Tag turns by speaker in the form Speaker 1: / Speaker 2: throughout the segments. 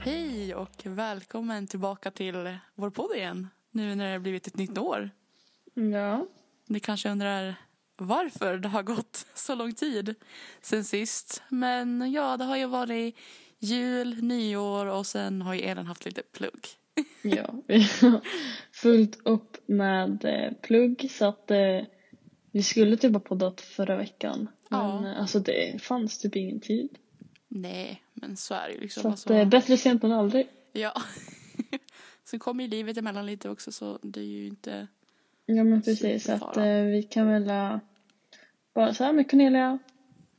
Speaker 1: Hej och välkommen tillbaka till vår podd igen. Nu när det har blivit ett nytt år.
Speaker 2: Ja.
Speaker 1: Ni kanske undrar varför det har gått så lång tid sen sist. Men ja, det har ju varit jul, nyår och sen har ju Elin haft lite plugg.
Speaker 2: Ja, vi har fullt upp med eh, plugg så att eh, vi skulle typ ha poddat förra veckan.
Speaker 1: Ja.
Speaker 2: Men eh, alltså det fanns typ ingen tid.
Speaker 1: Nej, men så är det ju liksom.
Speaker 2: Så att
Speaker 1: Alltså,
Speaker 2: eh, bättre sent än aldrig.
Speaker 1: ja. Sen kommer ju livet emellan lite också så det är ju inte...
Speaker 2: Ja men precis, så att
Speaker 1: Fara.
Speaker 2: eh, vi kan väl eh, bara så här med Cornelia.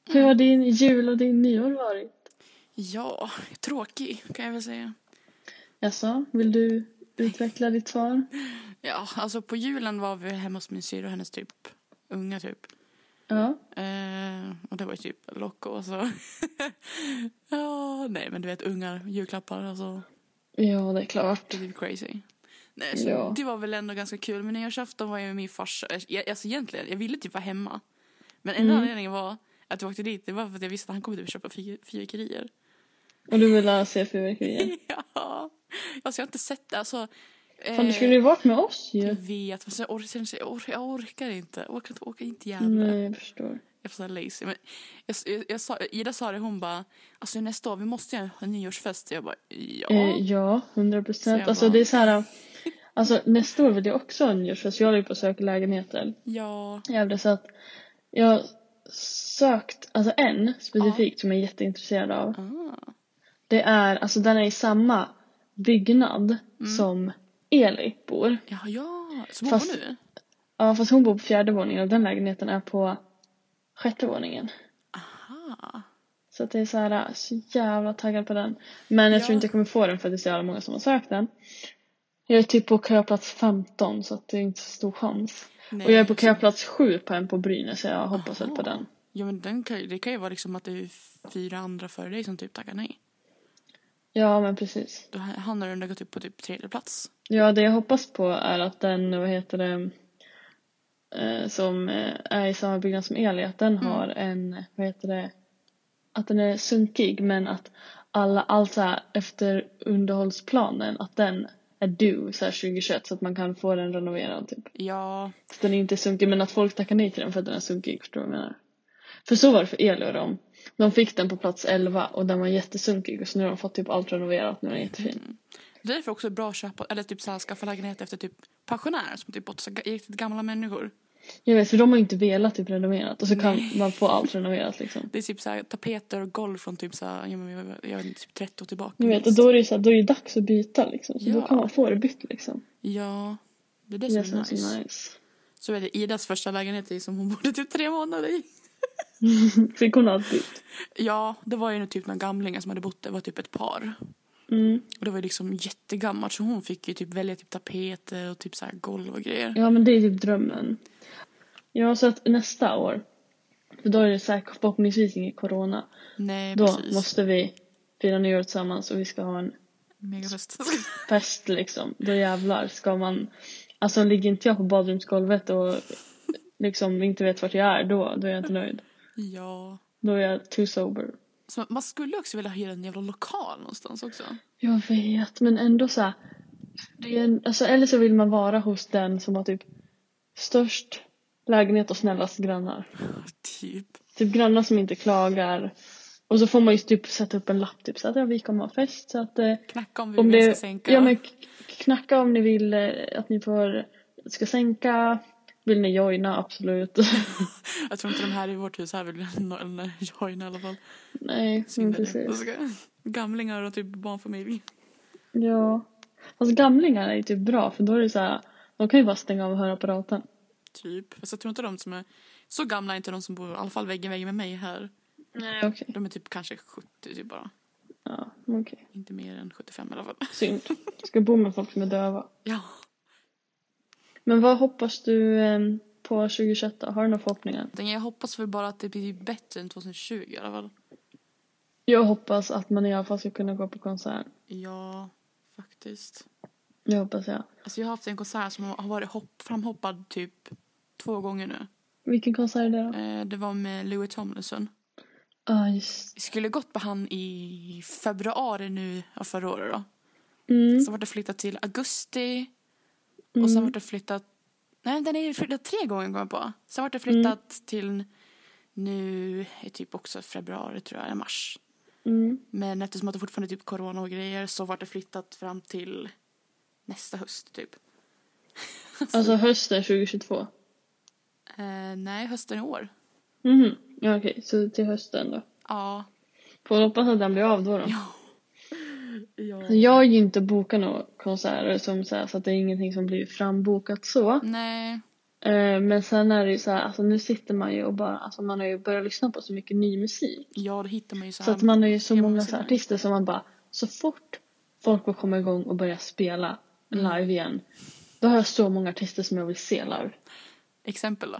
Speaker 2: Hur har din jul och din nyår varit?
Speaker 1: Ja, tråkig kan jag väl säga.
Speaker 2: Jaså, vill du utveckla ditt svar?
Speaker 1: Ja, alltså på julen var vi hemma hos min syrra och hennes typ unga typ.
Speaker 2: Ja.
Speaker 1: Eh, och det var ju typ Loco och så. ja, nej men du vet ungar, julklappar alltså.
Speaker 2: Ja, det är klart.
Speaker 1: Det är typ crazy. Nej, så
Speaker 2: Ja.
Speaker 1: Det var väl ändå ganska kul. Men nyårsafton var jag med min farsa. Jag, alltså egentligen, jag ville typ vara hemma. Men enda
Speaker 2: Mm.
Speaker 1: anledningen var att jag åkte dit. Det var för att jag visste att han kommer typ köpa fyr- fyrverkerier.
Speaker 2: Och du vill eh, se fyrverkerier?
Speaker 1: ja. Alltså jag har inte sett det. Alltså,
Speaker 2: Fan, du
Speaker 1: eh,
Speaker 2: skulle ju varit med oss
Speaker 1: Jag
Speaker 2: ju.
Speaker 1: vet, men sen orkar jag, inte- jag orkar, jag orkar inte. Jag orkar inte åka in till Gävle.
Speaker 2: Nej, Mm, jag förstår.
Speaker 1: Jag får så här lazy. Men jag, jag, jag sa, Ida sa det, hon bara, alltså nästa år, vi måste ju ha en nyårsfest. Jag bara, ja.
Speaker 2: Eh, ja, hundra
Speaker 1: Så
Speaker 2: procent.
Speaker 1: jag
Speaker 2: Alltså
Speaker 1: bara-
Speaker 2: det är så här. Alltså nästa år vill jag också ha en nyårsfest. Jag håller ju på att söka lägenheter.
Speaker 1: ja.
Speaker 2: Jävlar så att jag har sökt, alltså en specifikt som jag är jätteintresserad av.
Speaker 1: Ah.
Speaker 2: Det är, alltså den är i samma byggnad som Eli bor.
Speaker 1: Ja, ja. Så bor
Speaker 2: Fast-
Speaker 1: hon nu?
Speaker 2: Ja fast hon bor på fjärde våningen och den lägenheten är på sjätte våningen.
Speaker 1: Aha.
Speaker 2: Så att det är så här, äh, så jävla taggad på den. Men jag
Speaker 1: Ja.
Speaker 2: tror inte jag kommer få den för att det är så jävla många som har sökt den. Jag är typ på köplats 15 så att det är inte så stor chans.
Speaker 1: Nej,
Speaker 2: och jag är på
Speaker 1: alltså-
Speaker 2: köplats 7 på en på Brynäs så jag hoppas väl på
Speaker 1: Aha.
Speaker 2: den.
Speaker 1: Ja, men den kan, ju- det kan ju vara liksom att det är fyra andra före dig som typ tackar nej.
Speaker 2: Ja men precis.
Speaker 1: Då ha- hamnar du ändå typ på typ tredje plats.
Speaker 2: Ja det jag hoppas på är att den, vad heter det, eh, som eh, är i samma byggnad som Eli, att den har en, vad heter det, att den är sunkig men att alla, allt så här efter underhållsplanen, att den är due så här 2021 så att man kan få den renoverad typ.
Speaker 1: Ja,
Speaker 2: Så den är inte sunkig men att folk tackar nej till den för att den är sunkig, förstår du vad jag menar? För så var det för Eli och dem. De fick den på plats 11 och den var jättesunkig och så nu har de fått typ allt renoverat, nu är den jättefin.
Speaker 1: därför också bra att köpa, eller typ så här, skaffa lägenhet efter typ pensionärer som typ bott så ga- riktigt gamla människor.
Speaker 2: Jag vet, för de har ju inte velat typ renoverat och så kan man få allt renoverat liksom.
Speaker 1: Det är typ så här, tapeter och golv från typ så här, ja, men jag, jag, jag vet inte, typ 30 år tillbaka.
Speaker 2: Jag vet, och då är det ju så här, då är det dags att byta liksom. Så
Speaker 1: Ja.
Speaker 2: då kan man få det bytt liksom.
Speaker 1: Ja, det är det
Speaker 2: Det är
Speaker 1: som
Speaker 2: som
Speaker 1: är
Speaker 2: så
Speaker 1: nice.
Speaker 2: nice.
Speaker 1: Så vet jag, Idas första lägenhet är som hon bodde typ tre månader i.
Speaker 2: Fick hon allt bytt?
Speaker 1: Ja, det var ju typ några gamlingar som hade bott där, var typ ett par.
Speaker 2: Mm.
Speaker 1: Och det var ju liksom jättegammalt så hon fick ju typ välja typ tapeter och typ så här golv och grejer.
Speaker 2: Ja men det är typ drömmen. Ja så att nästa år, för då är det säkert förhoppningsvis inget corona.
Speaker 1: Nej,
Speaker 2: Då
Speaker 1: precis.
Speaker 2: måste vi fira nyår tillsammans och vi ska ha en
Speaker 1: Megafest.
Speaker 2: fest liksom. Då jävlar ska man, alltså ligger inte jag på badrumsgolvet och liksom inte vet vart jag är då, då är jag inte nöjd.
Speaker 1: ja.
Speaker 2: Då är jag too sober.
Speaker 1: Så man skulle också vilja hyra en jävla lokal någonstans också.
Speaker 2: Jag vet, men ändå så här, det är en, alltså, Eller så vill man vara hos den som har typ störst lägenhet och snällast grannar.
Speaker 1: Typ.
Speaker 2: Typ grannar som inte klagar. Och så får man ju typ sätta upp en lapp typ så att ja, vi kommer ha fest så att eh,
Speaker 1: Knacka om vi
Speaker 2: om
Speaker 1: vill ska
Speaker 2: det,
Speaker 1: sänka.
Speaker 2: ja men k- knacka om ni vill eh, att ni får, ska sänka, vill ni joina absolut.
Speaker 1: Jag tror inte de här i vårt hus här vill no- joina i alla fall.
Speaker 2: Nej, men
Speaker 1: Synd är det.
Speaker 2: Mm, precis.
Speaker 1: Alltså, Gamlingar och typ barnfamilj.
Speaker 2: Ja. Fast gamlingar är ju typ bra för då är det så här, de kan ju bara stänga av och höra apparaten.
Speaker 1: Typ. Fast jag tror inte de som är så gamla är inte de som bor i alla fall väggen väggen med mig här.
Speaker 2: Nej okej.
Speaker 1: De är typ kanske 70 typ bara.
Speaker 2: Ja, okej.
Speaker 1: Inte mer än 75 i alla fall.
Speaker 2: Synd. Ska bo med folk som är döva.
Speaker 1: Ja.
Speaker 2: Men vad hoppas du eh, på 2021 då? Har du några förhoppningar?
Speaker 1: Jag hoppas väl bara att det blir bättre än 2020 i alla fall.
Speaker 2: Jag hoppas att man i alla fall ska kunna gå på konsert.
Speaker 1: Ja, faktiskt.
Speaker 2: Det hoppas jag.
Speaker 1: Alltså jag har haft en konsert som har varit hopp, framhoppad typ två gånger nu.
Speaker 2: Vilken konsert är det då?
Speaker 1: Eh, det var med Louis Tomlinson.
Speaker 2: Ja, ah, just
Speaker 1: Vi skulle gått på han i februari nu av förra året då.
Speaker 2: mm.
Speaker 1: Sen vart det flyttat till augusti.
Speaker 2: Mm.
Speaker 1: Och sen vart det flyttat... Nej, den är ju flyttat tre gånger kom jag på. Sen vart det
Speaker 2: Mm.
Speaker 1: flyttat till nu i typ också februari tror jag, eller mars.
Speaker 2: Mm.
Speaker 1: Men eftersom att det fortfarande är typ corona och grejer så vart det flyttat fram till nästa höst typ.
Speaker 2: Alltså hösten 2022?
Speaker 1: Eh, nej, hösten i år.
Speaker 2: Mhm. Ja, okej, så till hösten då.
Speaker 1: Ja.
Speaker 2: Får hoppas att den blir av då. då.
Speaker 1: Ja. ja.
Speaker 2: Jag har ju inte bokat några konserter som så, här, så att det är ingenting som blir frambokat så.
Speaker 1: Nej.
Speaker 2: Eh, men sen är det ju så här, alltså nu sitter man ju och bara, alltså man har ju börjat lyssna på så mycket ny musik.
Speaker 1: Ja, då hittar man ju så här.
Speaker 2: Så att man har ju så
Speaker 1: Ja,
Speaker 2: många
Speaker 1: musik.
Speaker 2: så här, artister som man bara, så fort folk får komma igång och börja spela
Speaker 1: Mm.
Speaker 2: live igen, då har jag så många artister som jag vill se live.
Speaker 1: Exempel då.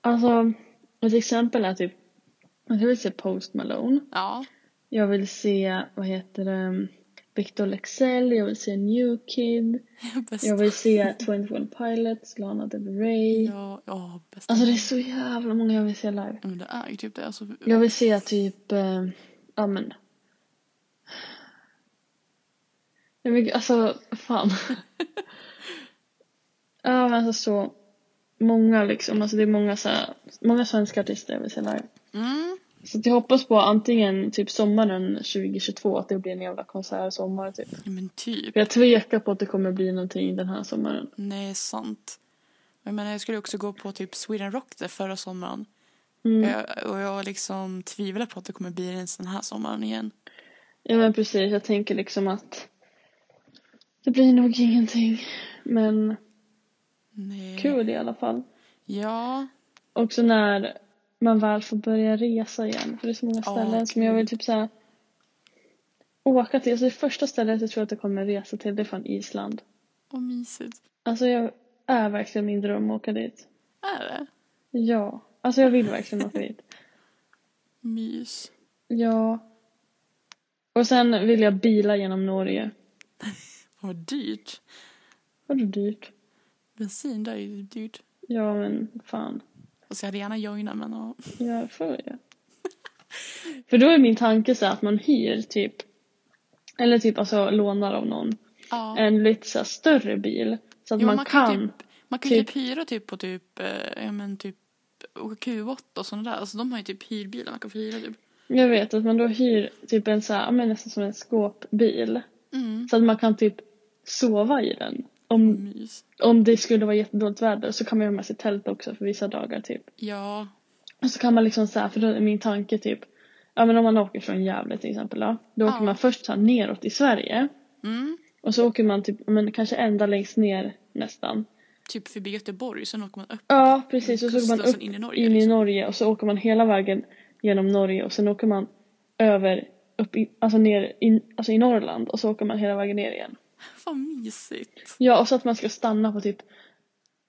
Speaker 2: Alltså, ett exempel är typ, jag vill se Post Malone.
Speaker 1: Ja.
Speaker 2: Jag vill se, vad heter det, Victor Lexell, jag vill se New Kid,
Speaker 1: Bästa.
Speaker 2: jag vill se 21 Pilots, Lana Del Rey.
Speaker 1: Ja, ja bästa.
Speaker 2: Alltså det är så jävla många jag vill se live.
Speaker 1: Ja, Men det är ju typ det. Alltså,
Speaker 2: Jag vill se typ, eh, ja men. Jag vill, alltså, fan. ja men alltså så många liksom, alltså det är många så här, många svenska artister jag vill se live.
Speaker 1: Mm.
Speaker 2: Så att jag hoppas på antingen typ sommaren 2022 att det blir en jävla konsertsommar typ.
Speaker 1: Ja, men typ.
Speaker 2: För Jag tvekar på att det kommer bli någonting den här sommaren.
Speaker 1: Nej, sant. Jag menar, jag skulle också gå på typ Sweden Rock där förra sommaren.
Speaker 2: Mm.
Speaker 1: Jag, och jag liksom tvivlar på att det kommer bli en sån här sommaren igen.
Speaker 2: Ja men precis, jag tänker liksom att det blir nog ingenting. Men
Speaker 1: Nej.
Speaker 2: kul i alla fall.
Speaker 1: Ja.
Speaker 2: Också när man väl får börja resa igen. För det är så många
Speaker 1: Ja,
Speaker 2: ställen som jag vill typ såhär åka till. Alltså det första stället jag tror att jag kommer resa till det är från Island.
Speaker 1: Och mysigt.
Speaker 2: Alltså jag är verkligen min dröm att åka dit.
Speaker 1: Är det?
Speaker 2: Ja. Alltså jag vill verkligen åka dit.
Speaker 1: Mys.
Speaker 2: Ja. Och sen vill jag bila genom Norge.
Speaker 1: Vad dyrt.
Speaker 2: Var det dyrt?
Speaker 1: Bensin där är ju dyrt.
Speaker 2: Ja men fan.
Speaker 1: Och så jag hade gärna joinat men ja.
Speaker 2: Jag får ju. För då är min tanke så här att man hyr typ. Eller typ alltså lånar av någon.
Speaker 1: ja.
Speaker 2: en lite så här större bil. Så att
Speaker 1: Jo,
Speaker 2: Eh, man, kan.
Speaker 1: ju Typ, man kan ju
Speaker 2: typ-
Speaker 1: typ hyra typ på typ, eh, ja men typ Q8 och sådana där. Alltså de har ju typ hyrbilar man kan få hyra typ.
Speaker 2: Jag vet att man då hyr typ en så här, ja, men nästan som en skåpbil.
Speaker 1: Mm.
Speaker 2: Så att man kan typ sova i den. Om,
Speaker 1: Mys.
Speaker 2: om det skulle vara jättedåligt väder så kan man ju ha med sig tält också för vissa dagar typ.
Speaker 1: Ja.
Speaker 2: Och så kan man liksom så här, för då är min tanke typ. Ja men om man åker från Gävle till exempel då. Då åker
Speaker 1: Ja.
Speaker 2: man först så här neråt i Sverige.
Speaker 1: Mm.
Speaker 2: Och så åker man typ, ja, men kanske ända längst ner nästan.
Speaker 1: Typ förbi Göteborg, sen åker man upp.
Speaker 2: Ja, precis. Och så åker
Speaker 1: Kusten,
Speaker 2: man
Speaker 1: sen
Speaker 2: upp
Speaker 1: in i Norge,
Speaker 2: in i
Speaker 1: liksom.
Speaker 2: Norge och så åker man hela vägen genom Norge och sen åker man över, upp i, alltså ner in, alltså i Norrland och så åker man hela vägen ner igen.
Speaker 1: Vad mysigt.
Speaker 2: Ja, och så att man ska stanna på typ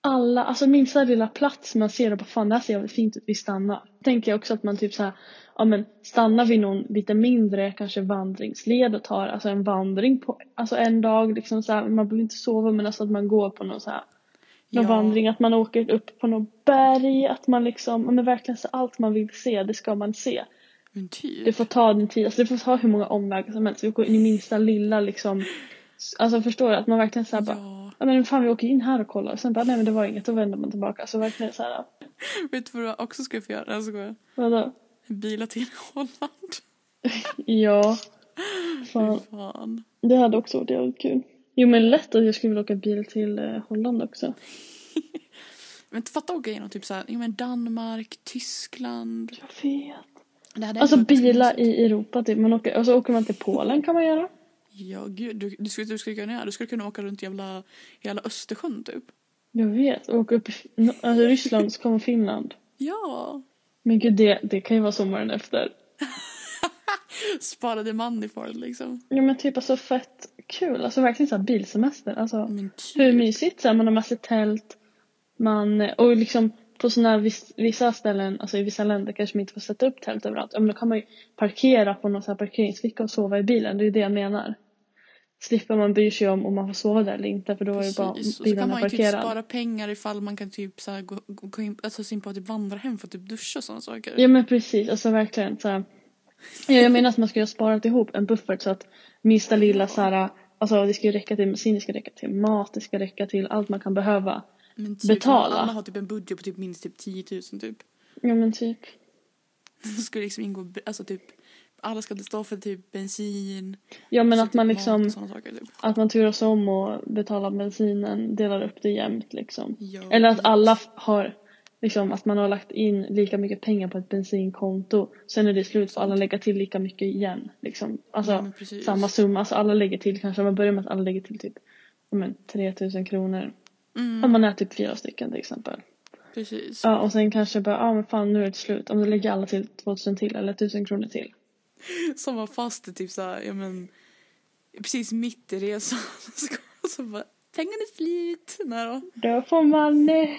Speaker 2: alla, alltså minsta lilla plats man ser och bara fan det här ser jävligt fint ut, vi stannar. Tänker jag också att man typ så här, ja men stannar vid någon lite mindre kanske vandringsled och tar alltså en vandring på, alltså en dag liksom så här, man behöver inte sova men alltså att man går på någon så här någon
Speaker 1: Ja.
Speaker 2: vandring, att man åker upp på något berg, att man liksom, ja, men verkligen så allt man vill se, det ska man se.
Speaker 1: Men typ.
Speaker 2: Det får ta den tid, alltså det får ta hur många omvägar som helst, vi går in i minsta lilla liksom, alltså förstår du, att man verkligen såhär bara,
Speaker 1: Ja.
Speaker 2: ja men fan vi åker in här och kollar, och sen bara nej men det var inget, då vänder man tillbaka, alltså verkligen såhär,
Speaker 1: Vet du vad jag också skulle få göra? Jag ska gå
Speaker 2: vadå?
Speaker 1: bila till Holland.
Speaker 2: Ja, fan,
Speaker 1: Fy fan.
Speaker 2: det hade också varit jävligt kul. Jo men lätt att jag skulle vilja åka bil till eh, Holland också.
Speaker 1: Men fatta att åka genom typ såhär, ja men Danmark, Tyskland.
Speaker 2: Jag vet.
Speaker 1: Det hade
Speaker 2: Alltså
Speaker 1: ändå varit
Speaker 2: bilar
Speaker 1: ganska mysigt.
Speaker 2: i Europa typ, man åker, och så åker man till Polen kan man göra.
Speaker 1: Ja gud, du, du, skulle, du skulle kunna göra, du skulle kunna åka runt jävla, hela Östersjön typ.
Speaker 2: Jag vet, och åka upp i no, alltså Ryssland så kommer Finland.
Speaker 1: Ja.
Speaker 2: Men gud, det, det kan ju vara sommaren efter.
Speaker 1: Sparade money for it liksom.
Speaker 2: Ja men typ alltså fett kul, alltså verkligen såhär bilsemester. Alltså
Speaker 1: Men typ.
Speaker 2: hur mysigt såhär, man har med sig tält, man, och liksom på sådana här viss, vissa ställen, alltså i vissa länder kanske man inte får sätta upp tält överallt. Ja men då kan man ju parkera på någon sån här parkeringsficka och sova i bilen, det är ju det jag menar. slipper man bry sig om om man får sova där eller inte för då
Speaker 1: Precis.
Speaker 2: är det
Speaker 1: Och
Speaker 2: bara
Speaker 1: så kan
Speaker 2: bilarna
Speaker 1: man ju typ
Speaker 2: parkerade.
Speaker 1: spara pengar ifall man kan typ så här gå, gå gå in, alltså sin på typ vandra hem för att typ duscha och sådana saker.
Speaker 2: Ja men precis, alltså verkligen så här. Ja, jag menar att man skulle ha sparat ihop en buffert så att minsta lilla så här, alltså det ska ju räcka till medicin, det ska räcka till mat, det ska räcka till allt man kan behöva.
Speaker 1: men typ,
Speaker 2: betala.
Speaker 1: Alla har typ en budget på typ minst typ 10 000 typ.
Speaker 2: Ja men typ.
Speaker 1: Så ska det liksom ingå, alltså typ, alla ska stå för typ bensin.
Speaker 2: Ja men
Speaker 1: så
Speaker 2: att
Speaker 1: typ
Speaker 2: man
Speaker 1: mat
Speaker 2: liksom,
Speaker 1: och såna saker typ.
Speaker 2: att man turas om och betalar bensinen, delar upp det jämnt liksom.
Speaker 1: Ja,
Speaker 2: Eller att
Speaker 1: precis.
Speaker 2: alla f- har, liksom att man har lagt in lika mycket pengar på ett bensinkonto. Sen är det slut för alla lägger till lika mycket igen liksom. Alltså
Speaker 1: Ja, men precis.
Speaker 2: samma summa, alltså alla lägger till kanske, man börjar med att alla lägger till typ, ja men 3000 kronor.
Speaker 1: Mm,
Speaker 2: Om man är typ fyra stycken till exempel.
Speaker 1: precis.
Speaker 2: Ja och sen kanske bara, ja men fan nu är det slut. Om då lägger alla till 2000 till eller 1000 kronor till.
Speaker 1: Som var fast i typ så här, ja men precis mitt i resan. Så, så bara, pengarna är slut. Nej då,
Speaker 2: Då får man, eh,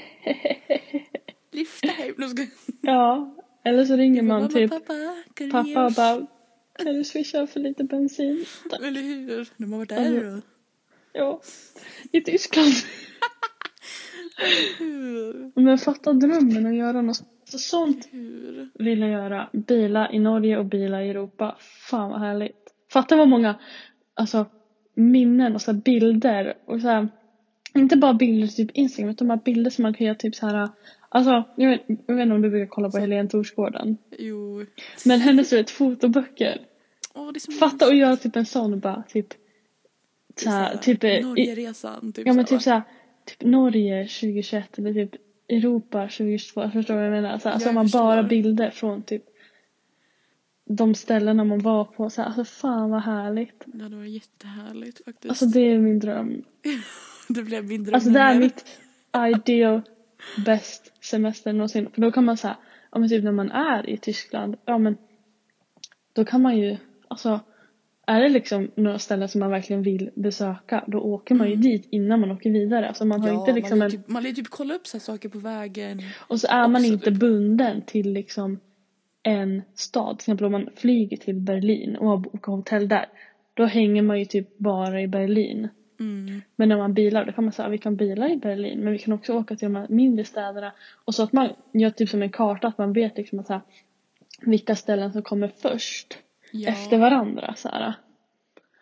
Speaker 1: lyfta hem. Nu ska
Speaker 2: ja. Eller så ringer man
Speaker 1: Mamma,
Speaker 2: typ
Speaker 1: pappa, kan du ge
Speaker 2: pappa och
Speaker 1: oss?
Speaker 2: bara, kan du swisha för lite bensin?
Speaker 1: Eller hur? De har varit där
Speaker 2: Mm.
Speaker 1: då.
Speaker 2: Ja. I Tyskland.
Speaker 1: Hur?
Speaker 2: Men fatta drömmen att göra något så sånt
Speaker 1: Hur?
Speaker 2: vill jag göra. Bila i Norge och bila i Europa. Fan vad härligt. Fatta vad många alltså, minnen och så här bilder. Och så här, inte bara bilder typ Instagram utan bara bilder som man kan göra typ så här. Alltså, jag vet, jag vet inte om du brukar kolla på Helene Torsgården.
Speaker 1: Jo.
Speaker 2: Men hennes du vet, fotoböcker.
Speaker 1: Åh, det är så
Speaker 2: Fatta att göra typ en sån och bara typ. Så här, typ eh, i,
Speaker 1: Norgeresan. Typ
Speaker 2: Ja men
Speaker 1: så här,
Speaker 2: typ såhär, typ Norge 2021 eller typ Europa 2022, förstår du vad jag menar? Såhär,
Speaker 1: Ja,
Speaker 2: alltså
Speaker 1: jag
Speaker 2: man bara
Speaker 1: förstår.
Speaker 2: bilder från typ de ställena man var på, såhär, alltså fan vad härligt.
Speaker 1: va? Det hade varit jättehärligt faktiskt.
Speaker 2: Alltså det är min dröm.
Speaker 1: det blev min dröm.
Speaker 2: Alltså det är
Speaker 1: men-
Speaker 2: mitt ideal bäst semester någonsin. För då kan man såhär, ja men typ när man är i Tyskland, ja men då kan man ju, alltså är det liksom några ställen som man verkligen vill besöka då åker man ju dit innan man åker vidare. Alltså man har
Speaker 1: Mm. Ja,
Speaker 2: inte liksom
Speaker 1: man,
Speaker 2: en
Speaker 1: vill typ, man vill typ kolla upp så här saker på vägen.
Speaker 2: Och så är man
Speaker 1: Också typ.
Speaker 2: inte bunden till liksom en stad. Till exempel om man flyger till Berlin och har bokat hotell där. Då hänger man ju typ bara i Berlin.
Speaker 1: Mm.
Speaker 2: Men när man bilar då kan man säga vi kan bila i Berlin men vi kan också åka till de här mindre städerna. Och så att man gör typ som en karta att man vet liksom att så här, vilka ställen som kommer först
Speaker 1: Ja.
Speaker 2: efter varandra. Så här.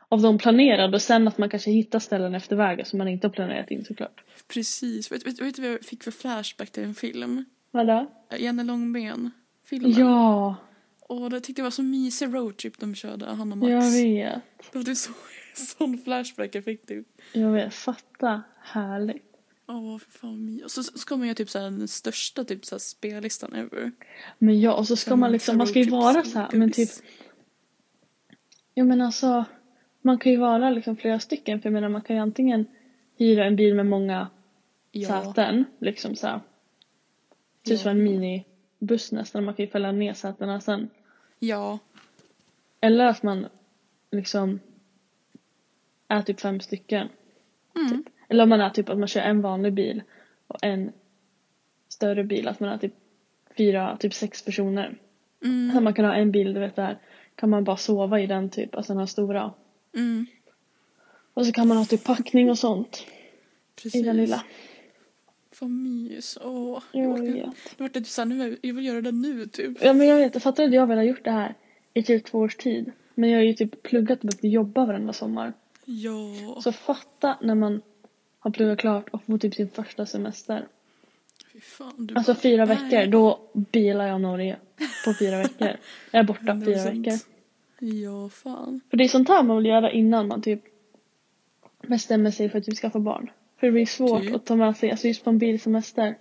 Speaker 2: Av de planerade och sen att man kanske hittar ställen efter vägen som man inte har planerat in såklart.
Speaker 1: Precis. Vet, vet, vet du vad jag fick för flashback till en film?
Speaker 2: Vadå?
Speaker 1: Eh, Janne Långben-filmen.
Speaker 2: Ja,
Speaker 1: Och det tyckte jag var så mysig roadtrip de körde, han och Max.
Speaker 2: jag vet.
Speaker 1: Det var typ så, sån flashback jag fick typ.
Speaker 2: Jag vet, fatta. Härligt.
Speaker 1: Åh, för fan vad mysigt. Och så så ska man göra typ så här, den största typ så här, spellistan ever.
Speaker 2: Men ja, och så ska man liksom, man ska ju vara så här, men typ, jag menar alltså, man kan ju vara liksom flera stycken, för jag menar man kan ju antingen hyra en bil med många
Speaker 1: ja.
Speaker 2: säten, liksom så här, typ
Speaker 1: Ja.
Speaker 2: som en minibuss nästan, man kan ju fälla ner sätena sen.
Speaker 1: ja,
Speaker 2: Eller att man liksom är typ fem stycken.
Speaker 1: Mm.
Speaker 2: Typ. Eller om man är typ att man kör en vanlig bil och en större bil, att man är typ fyra, typ sex personer.
Speaker 1: Mm.
Speaker 2: Så man kan ha en bil, du vet där, kan man bara sova i den typ, alltså den här stora.
Speaker 1: Mm.
Speaker 2: Och så kan man ha typ packning och sånt
Speaker 1: Precis.
Speaker 2: i den lilla.
Speaker 1: Vad mys. Åh. Jag
Speaker 2: Jag
Speaker 1: orkar-
Speaker 2: vet.
Speaker 1: Det vart typ såhär, nu, jag vill göra det nu typ.
Speaker 2: Ja men jag vet, fattar du att jag väl har gjort det här i typ två års tid. Men jag har ju typ pluggat och behövt jobba varenda sommar.
Speaker 1: Ja.
Speaker 2: Så fatta när man har pluggat klart och får typ sin första semester.
Speaker 1: Fy fan, du
Speaker 2: Alltså
Speaker 1: bara,
Speaker 2: fyra
Speaker 1: nej.
Speaker 2: veckor, då bilar jag Norge på fyra veckor. Jag är borta
Speaker 1: Hundra
Speaker 2: fyra
Speaker 1: procent.
Speaker 2: veckor.
Speaker 1: Ja, fan.
Speaker 2: För det är sånt här man vill göra innan man typ bestämmer sig för att typ skaffa barn. För det blir svårt
Speaker 1: Typ.
Speaker 2: att ta med sig, alltså just på en bilsemester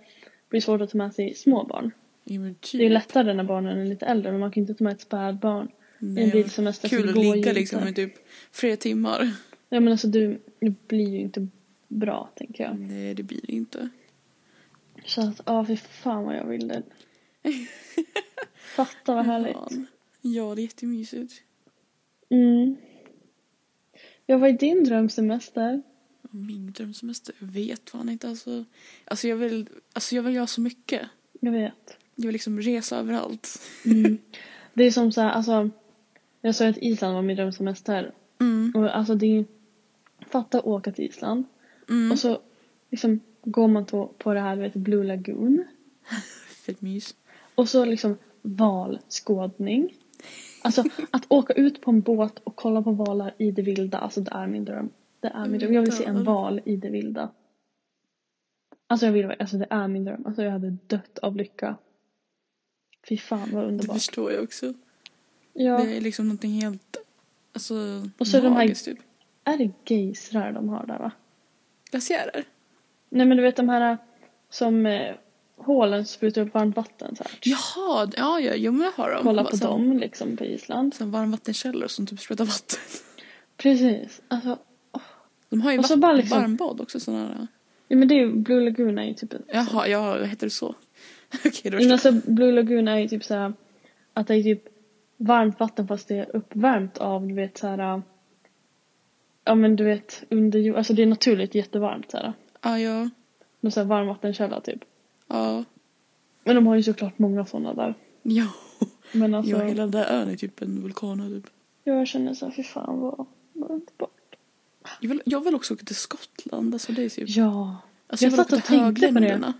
Speaker 2: blir det svårt att ta med sig små barn.
Speaker 1: Ja, men typ.
Speaker 2: Det är lättare när barnen är lite äldre men man kan inte ta med ett spädbarn.
Speaker 1: Nej,
Speaker 2: i en
Speaker 1: men
Speaker 2: bilsemester så
Speaker 1: Kul
Speaker 2: det
Speaker 1: att
Speaker 2: går ju
Speaker 1: ligga
Speaker 2: inte.
Speaker 1: liksom i typ flera timmar.
Speaker 2: Ja men alltså du, det blir ju inte bra tänker jag.
Speaker 1: Nej, det blir det inte.
Speaker 2: Så att, ja fy fan vad jag vill det. Fatta vad härligt.
Speaker 1: Fan. Ja, det är jättemysigt.
Speaker 2: Mm. Ja vad är din drömsemester?
Speaker 1: Min drömsemester? Jag vet fan inte. Alltså, alltså, jag vill, alltså jag vill göra så mycket.
Speaker 2: Jag vet.
Speaker 1: Jag vill liksom resa överallt.
Speaker 2: Mm. Det är som så här, alltså. Jag sa ju att Island var min drömsemester.
Speaker 1: Mm.
Speaker 2: Och alltså det är, fatta att åka till Island
Speaker 1: Mm.
Speaker 2: och så liksom går man på, på det här du vet, Blue Lagoon
Speaker 1: Fett mys.
Speaker 2: och så liksom valskådning. Alltså att åka ut på en båt och kolla på valar i det vilda, alltså det är min dröm. Det är min dröm. Jag vill se en val i det vilda. Alltså jag vill, alltså det är min dröm. Alltså jag hade dött av lycka. Fy fan vad
Speaker 1: Det
Speaker 2: underbart.
Speaker 1: förstår jag också.
Speaker 2: Ja.
Speaker 1: Det är liksom någonting helt alltså,
Speaker 2: Och så är de här-
Speaker 1: magiskt typ.
Speaker 2: Är det gejsrar de har där va?
Speaker 1: Glaciärer.
Speaker 2: Nej men du vet de här äh, som eh, hålen sprutar upp varmt vatten så här.
Speaker 1: Jaha, ja, ja, jo, men jag har dem.
Speaker 2: Kolla på
Speaker 1: Som-
Speaker 2: dem liksom på Island.
Speaker 1: Som varmvattenkällor som typ sprutar vatten.
Speaker 2: Precis. Alltså,
Speaker 1: De har ju
Speaker 2: Och så
Speaker 1: vatt-
Speaker 2: bara liksom-
Speaker 1: varmbad också sådana där.
Speaker 2: ja, men det är ju, Blue Lagoon är ju typ en
Speaker 1: Jaha, ja, vad heter det så? Okej, då
Speaker 2: Men
Speaker 1: förstår
Speaker 2: alltså Blue Lagoon är ju typ så här att det är typ varmt vatten fast det är uppvärmt av du vet så här äh, ja men du vet under jord, alltså det är naturligt jättevarmt så här.
Speaker 1: jag. Ja, ja,
Speaker 2: Någon så här varmvattenkälla typ.
Speaker 1: ja.
Speaker 2: Men de har ju såklart många sådana där.
Speaker 1: Ja,
Speaker 2: Men alltså,
Speaker 1: ja
Speaker 2: ja,
Speaker 1: hela den där ön är typ en vulkan. Typ.
Speaker 2: jag känner så här, fy fan vad, vad underbart.
Speaker 1: Jag, vill, jag vill också åka till Skottland. Alltså, det är typ,
Speaker 2: Ja.
Speaker 1: alltså,
Speaker 2: jag
Speaker 1: vill
Speaker 2: satt
Speaker 1: åka
Speaker 2: och
Speaker 1: till
Speaker 2: tänkte på det.
Speaker 1: högländerna.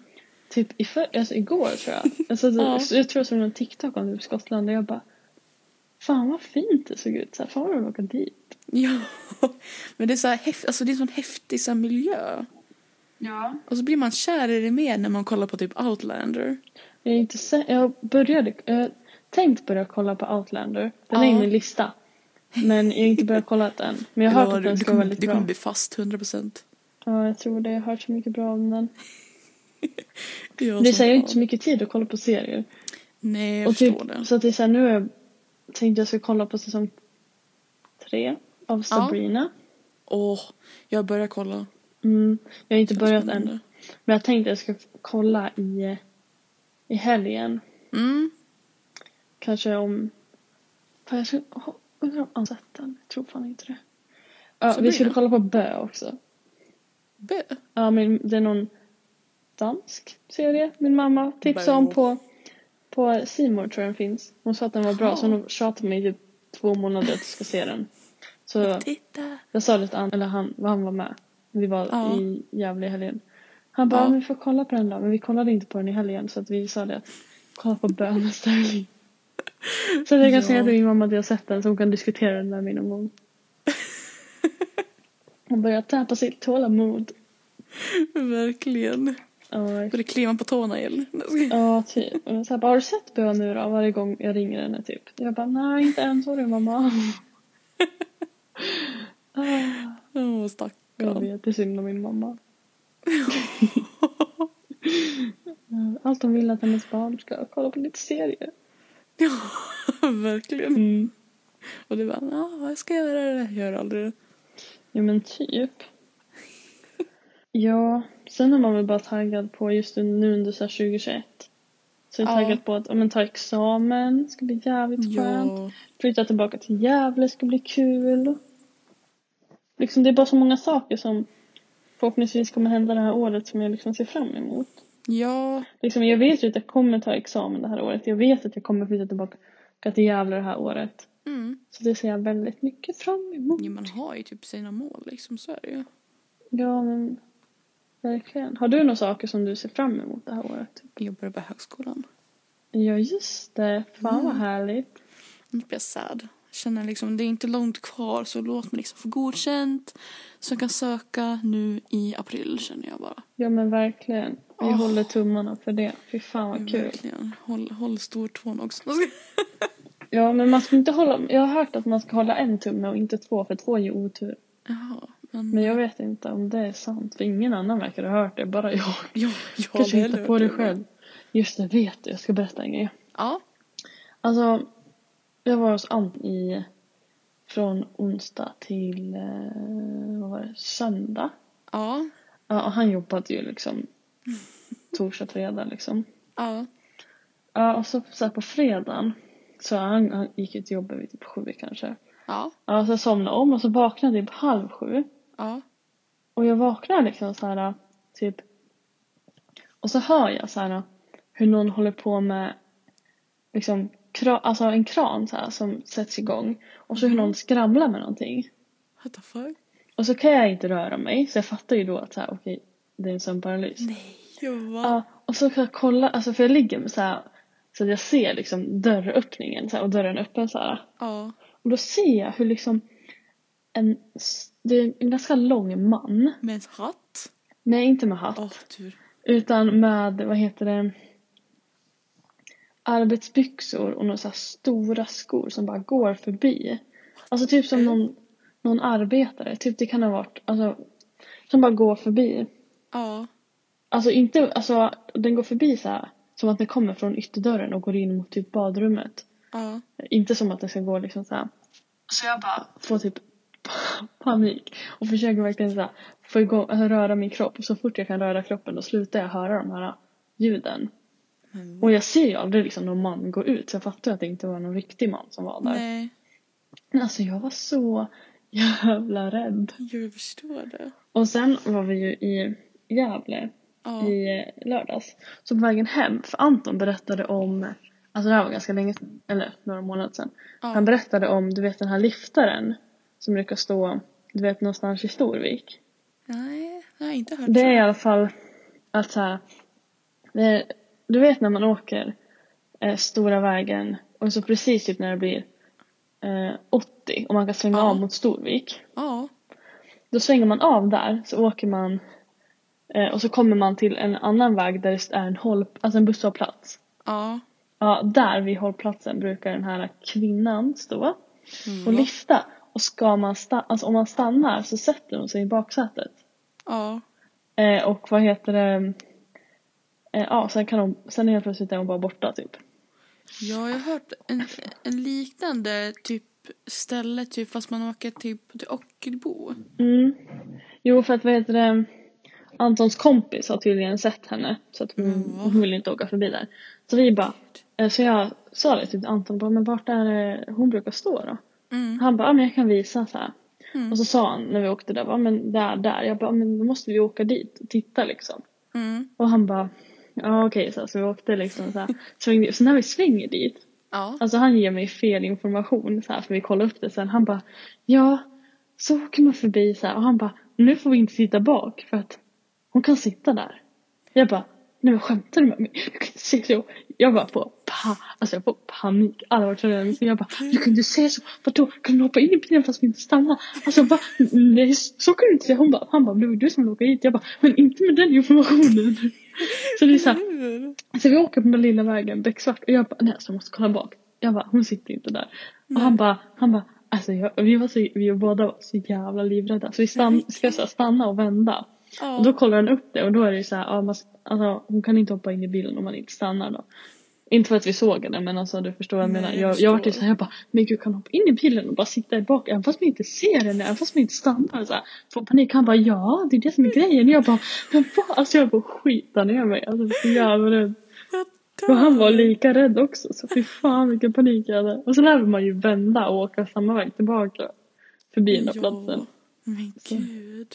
Speaker 2: Typ i för, alltså igår tror jag. Alltså,
Speaker 1: Ja.
Speaker 2: så, jag tror jag såg någon TikTok om typ Skottland och jag bara Fan vad fint det såg ut. Så här, fan vad jag vill åka dit.
Speaker 1: Ja, men det är, så här, häft, alltså, det är en sån häftig så här, miljö.
Speaker 2: Ja.
Speaker 1: Och så blir man kär i det mer när man kollar på typ Outlander.
Speaker 2: Jag, är inte sä- jag började, jag har tänkt börja kolla på Outlander. Den är
Speaker 1: Ja.
Speaker 2: i min lista. Men jag har inte börjat kolla den. Men jag har hört att den
Speaker 1: det
Speaker 2: ska
Speaker 1: kommer,
Speaker 2: vara väldigt
Speaker 1: det
Speaker 2: bra.
Speaker 1: kommer bli fast 100 procent.
Speaker 2: Ja, jag tror det. Jag har hört så mycket bra om den.
Speaker 1: Ja,
Speaker 2: Det
Speaker 1: som
Speaker 2: säger ju
Speaker 1: fan.
Speaker 2: inte så mycket tid att kolla på serier.
Speaker 1: Nej, jag
Speaker 2: och
Speaker 1: förstår
Speaker 2: typ,
Speaker 1: det.
Speaker 2: så att det är så här, nu har jag tänkt jag ska kolla på säsong tre av Sabrina.
Speaker 1: Åh, jag börjar kolla.
Speaker 2: Mm, jag har inte börjat än.
Speaker 1: Spännande.
Speaker 2: Men jag tänkte jag ska kolla i, i helgen.
Speaker 1: Mm.
Speaker 2: Kanske om... Fan, jag skulle, oh, undrar om han sett den. Jag tror fan inte det. Ja, vi
Speaker 1: Sabrina?
Speaker 2: skulle kolla på Bö också.
Speaker 1: Bö.
Speaker 2: Ja, men det är någon dansk serie min mamma tipsade om
Speaker 1: Bö.
Speaker 2: på på C More tror jag den finns. Hon sa att den var bra
Speaker 1: Jaha.
Speaker 2: så hon tjatade mig i typ två månader att jag ska se den. Så
Speaker 1: Titta.
Speaker 2: jag sa det till han, eller han, vad han var med. Vi var
Speaker 1: Ja.
Speaker 2: i Gävle i helgen. Han bara,
Speaker 1: Ja.
Speaker 2: ja. men vi får kolla på den då. Men vi kollade inte på den i helgen så att vi sa det att kolla på bön nästa helg. Så att jag kan
Speaker 1: Ja.
Speaker 2: säga till min mamma att jag har sett den så hon kan diskutera den med mig någon gång. Hon börjar tappa sitt tålamod.
Speaker 1: Verkligen.
Speaker 2: Ja,
Speaker 1: Börjar klimma på tårna igen.
Speaker 2: Ja, typ. Och jag Så här, bara, har du sett Bö nu då? Varje gång jag ringer henne typ. Jag bara, nej inte än, sorry mamma. ah,
Speaker 1: Åh,
Speaker 2: jag
Speaker 1: stackarn.
Speaker 2: vet, det är synd om min mamma. Ja, Eh, Allt hon vill är att hennes barn ska kolla på lite serier.
Speaker 1: Ja, verkligen.
Speaker 2: Mm.
Speaker 1: Och du bara, ja, jag ska göra det. Jag gör aldrig det.
Speaker 2: Jo men typ. Ja, sen är man väl bara taggad på just nu under så här 2021. Så jag är
Speaker 1: Ja.
Speaker 2: taggad på att ja, men, ta examen, ska bli jävligt skönt.
Speaker 1: Ja.
Speaker 2: Flytta tillbaka till Gävle ska bli kul. Liksom det är bara så många saker som förhoppningsvis kommer hända det här året som jag liksom ser fram emot.
Speaker 1: Ja.
Speaker 2: Liksom jag vet ju att jag kommer ta examen det här året. Jag vet att jag kommer flytta tillbaka till Gävle det här året.
Speaker 1: Mm.
Speaker 2: Så det ser jag väldigt mycket fram emot.
Speaker 1: Jo, man har ju typ sina mål liksom. Så är det ju.
Speaker 2: Ja men verkligen. Har du några saker som du ser fram emot det här året?
Speaker 1: Jag börjar på högskolan.
Speaker 2: Ja just det. Fan vad härligt.
Speaker 1: Nu blir jag sad. Jag känner liksom, det är inte långt kvar så låt mig liksom få godkänt. Så jag kan söka nu i april känner jag bara.
Speaker 2: Ja men verkligen. Vi
Speaker 1: Åh.
Speaker 2: håller tummarna för det. Fy fan vad kul.
Speaker 1: Verkligen. Håll, håll stortån också.
Speaker 2: Ja, men man ska inte hålla... Jag har hört att man ska hålla en tumme och inte två, för två ger otur.
Speaker 1: Jaha, men...
Speaker 2: Men jag vet inte om det är sant, för ingen annan verkar ha hört det, bara jag.
Speaker 1: Jag, jag har
Speaker 2: Kanske
Speaker 1: aldrig
Speaker 2: hitta
Speaker 1: hört
Speaker 2: på det
Speaker 1: va?
Speaker 2: själv. Just det, vet du, jag ska berätta en grej.
Speaker 1: Ja.
Speaker 2: Alltså, jag var hos Ann i... Från onsdag till... Eh, vad var det? Söndag.
Speaker 1: Ja.
Speaker 2: Ja, och han jobbade ju liksom torsdag, fredag liksom.
Speaker 1: Ja.
Speaker 2: Ja, och så, så här på fredagen så han, han gick ju till jobbet vid typ sju kanske.
Speaker 1: Ja.
Speaker 2: Ja, så jag somnade om och så vaknade jag typ halv sju.
Speaker 1: Ja.
Speaker 2: Och jag vaknar liksom så här typ och så hör jag så här hur någon håller på med liksom kra- alltså en kran så här som sätts igång och så hur någon skramlar med någonting.
Speaker 1: What the fuck?
Speaker 2: Och så kan jag inte röra mig så jag fattar ju då att så här, okej det är en sömnparalys.
Speaker 1: Nej, Johan.
Speaker 2: Ja, och så kan jag kolla, alltså för jag ligger med så här, så att jag ser liksom dörröppningen så här, och dörren är öppen så här.
Speaker 1: Ja.
Speaker 2: Och då ser jag hur liksom en, s- det är en ganska lång man,
Speaker 1: Med en hatt.
Speaker 2: nej inte med hatt,
Speaker 1: Åh, tur.
Speaker 2: utan med, vad heter det, arbetsbyxor och några så här stora skor som bara går förbi. Alltså typ som någon, någon arbetare, typ det kan ha varit, alltså som bara går förbi.
Speaker 1: Ja.
Speaker 2: Alltså inte, alltså den går förbi så här som att den kommer från ytterdörren och går in mot typ badrummet.
Speaker 1: Ja.
Speaker 2: Inte som att den ska gå liksom så här. Så jag bara får typ panik och försöker verkligen så här få igång, alltså, röra min kropp och så fort jag kan röra kroppen då slutar jag höra de här ljuden.
Speaker 1: Men
Speaker 2: Och jag ser ju aldrig liksom någon man gå ut så jag fattar ju att det inte var någon riktig man som var där.
Speaker 1: Nej,
Speaker 2: Men alltså jag var så jävla rädd.
Speaker 1: jag förstår det.
Speaker 2: Och sen var vi ju i Gävle
Speaker 1: Ja.
Speaker 2: i eh, lördags. Så på vägen hem, för Anton berättade om, alltså det här var ganska länge sedan, eller några månader sedan.
Speaker 1: Ja.
Speaker 2: Han berättade om, du vet den här liftaren som brukar stå, du vet någonstans i Storvik.
Speaker 1: Nej, jag har inte hört
Speaker 2: Det är i
Speaker 1: så.
Speaker 2: alla fall att så här, det är, du vet när man åker eh, stora vägen och så precis typ när det blir eh, 80 och man kan svänga
Speaker 1: Ja.
Speaker 2: av mot Storvik.
Speaker 1: Ja.
Speaker 2: Då svänger man av där, så åker man eh, och så kommer man till en annan väg där det är en, håll, alltså en busshållplats.
Speaker 1: Ja.
Speaker 2: Ja, där vid hållplatsen brukar den här kvinnan stå och lyfta. Och ska man sta- alltså om man stannar så sätter hon sig i baksätet.
Speaker 1: Ja.
Speaker 2: Eh, och vad heter det? Eh, ja, sen kan hon, sen helt plötsligt är hon bara borta typ.
Speaker 1: Ja, jag har hört en, en liknande typ ställe, typ fast man åker typ till Ockelbo.
Speaker 2: Mm. Jo, för att vad heter det? Antons kompis har tydligen sett henne så att hon,
Speaker 1: Ja.
Speaker 2: hon vill inte åka förbi där. Så vi bara, eh, så jag sa det till Anton, bara, men vart är det hon brukar stå då?
Speaker 1: Mm.
Speaker 2: Han bara, ja, men jag kan visa så här.
Speaker 1: Mm.
Speaker 2: Och så sa han när vi åkte där, bara, men där, där. Jag bara, men då måste vi åka dit och titta liksom.
Speaker 1: Mm.
Speaker 2: Och han bara, ja okej så, här, så vi åkte liksom så här. Svängde. Så när vi svänger dit,
Speaker 1: Ja.
Speaker 2: alltså han ger mig fel information så här för vi kollade upp det sen. Han bara, ja så åker man förbi så här. Och han bara, nu får vi inte sitta bak för att hon kan sitta där. Jag bara, nej men skämtar du med mig? Du kan inte säga så. Jag bara får pa- alltså jag får panik allvarligt talat. Jag bara, du kan inte säga så. Vadå, kan du hoppa in i bilen fast vi inte stannar? Alltså jag bara, nej så kan du inte säga. Hon bara, han bara, det var du som åkte hit. Jag bara, men inte med den informationen. Så det är så här,
Speaker 1: Hur?
Speaker 2: så vi åker på den lilla vägen, becksvart. Och jag bara, nej alltså jag måste kolla bak. Jag bara, hon sitter inte där. Och han bara, han bara, alltså jag, vi var så, vi båda var så jävla livrädda. Så vi stann, ska så här, stanna och vända.
Speaker 1: Ja.
Speaker 2: Och då kollar han upp det och då är det ju så här, ja, man, alltså, hon kan inte hoppa in i bilen om man inte stannar då. Inte för att vi såg henne men alltså du förstår vad jag
Speaker 1: Nej,
Speaker 2: menar.
Speaker 1: jag
Speaker 2: Jag, jag vart ju
Speaker 1: förstår.
Speaker 2: såhär, jag bara, men gud kan hon hoppa in i bilen och bara sitta där bak även fast man inte ser henne, även fast man inte stannar. Så här, får panik. Han bara, ja det är det som är grejen. Jag bara, men vad? Alltså jag bara skitar ner mig. Alltså jag var så jävla rädd.
Speaker 1: Jag dör.
Speaker 2: Och han var lika rädd också så fy fan vilken panik jag hade. Och sen lär man ju vända och åka samma väg tillbaka. Förbi den där
Speaker 1: Ja.
Speaker 2: platsen.
Speaker 1: Men gud.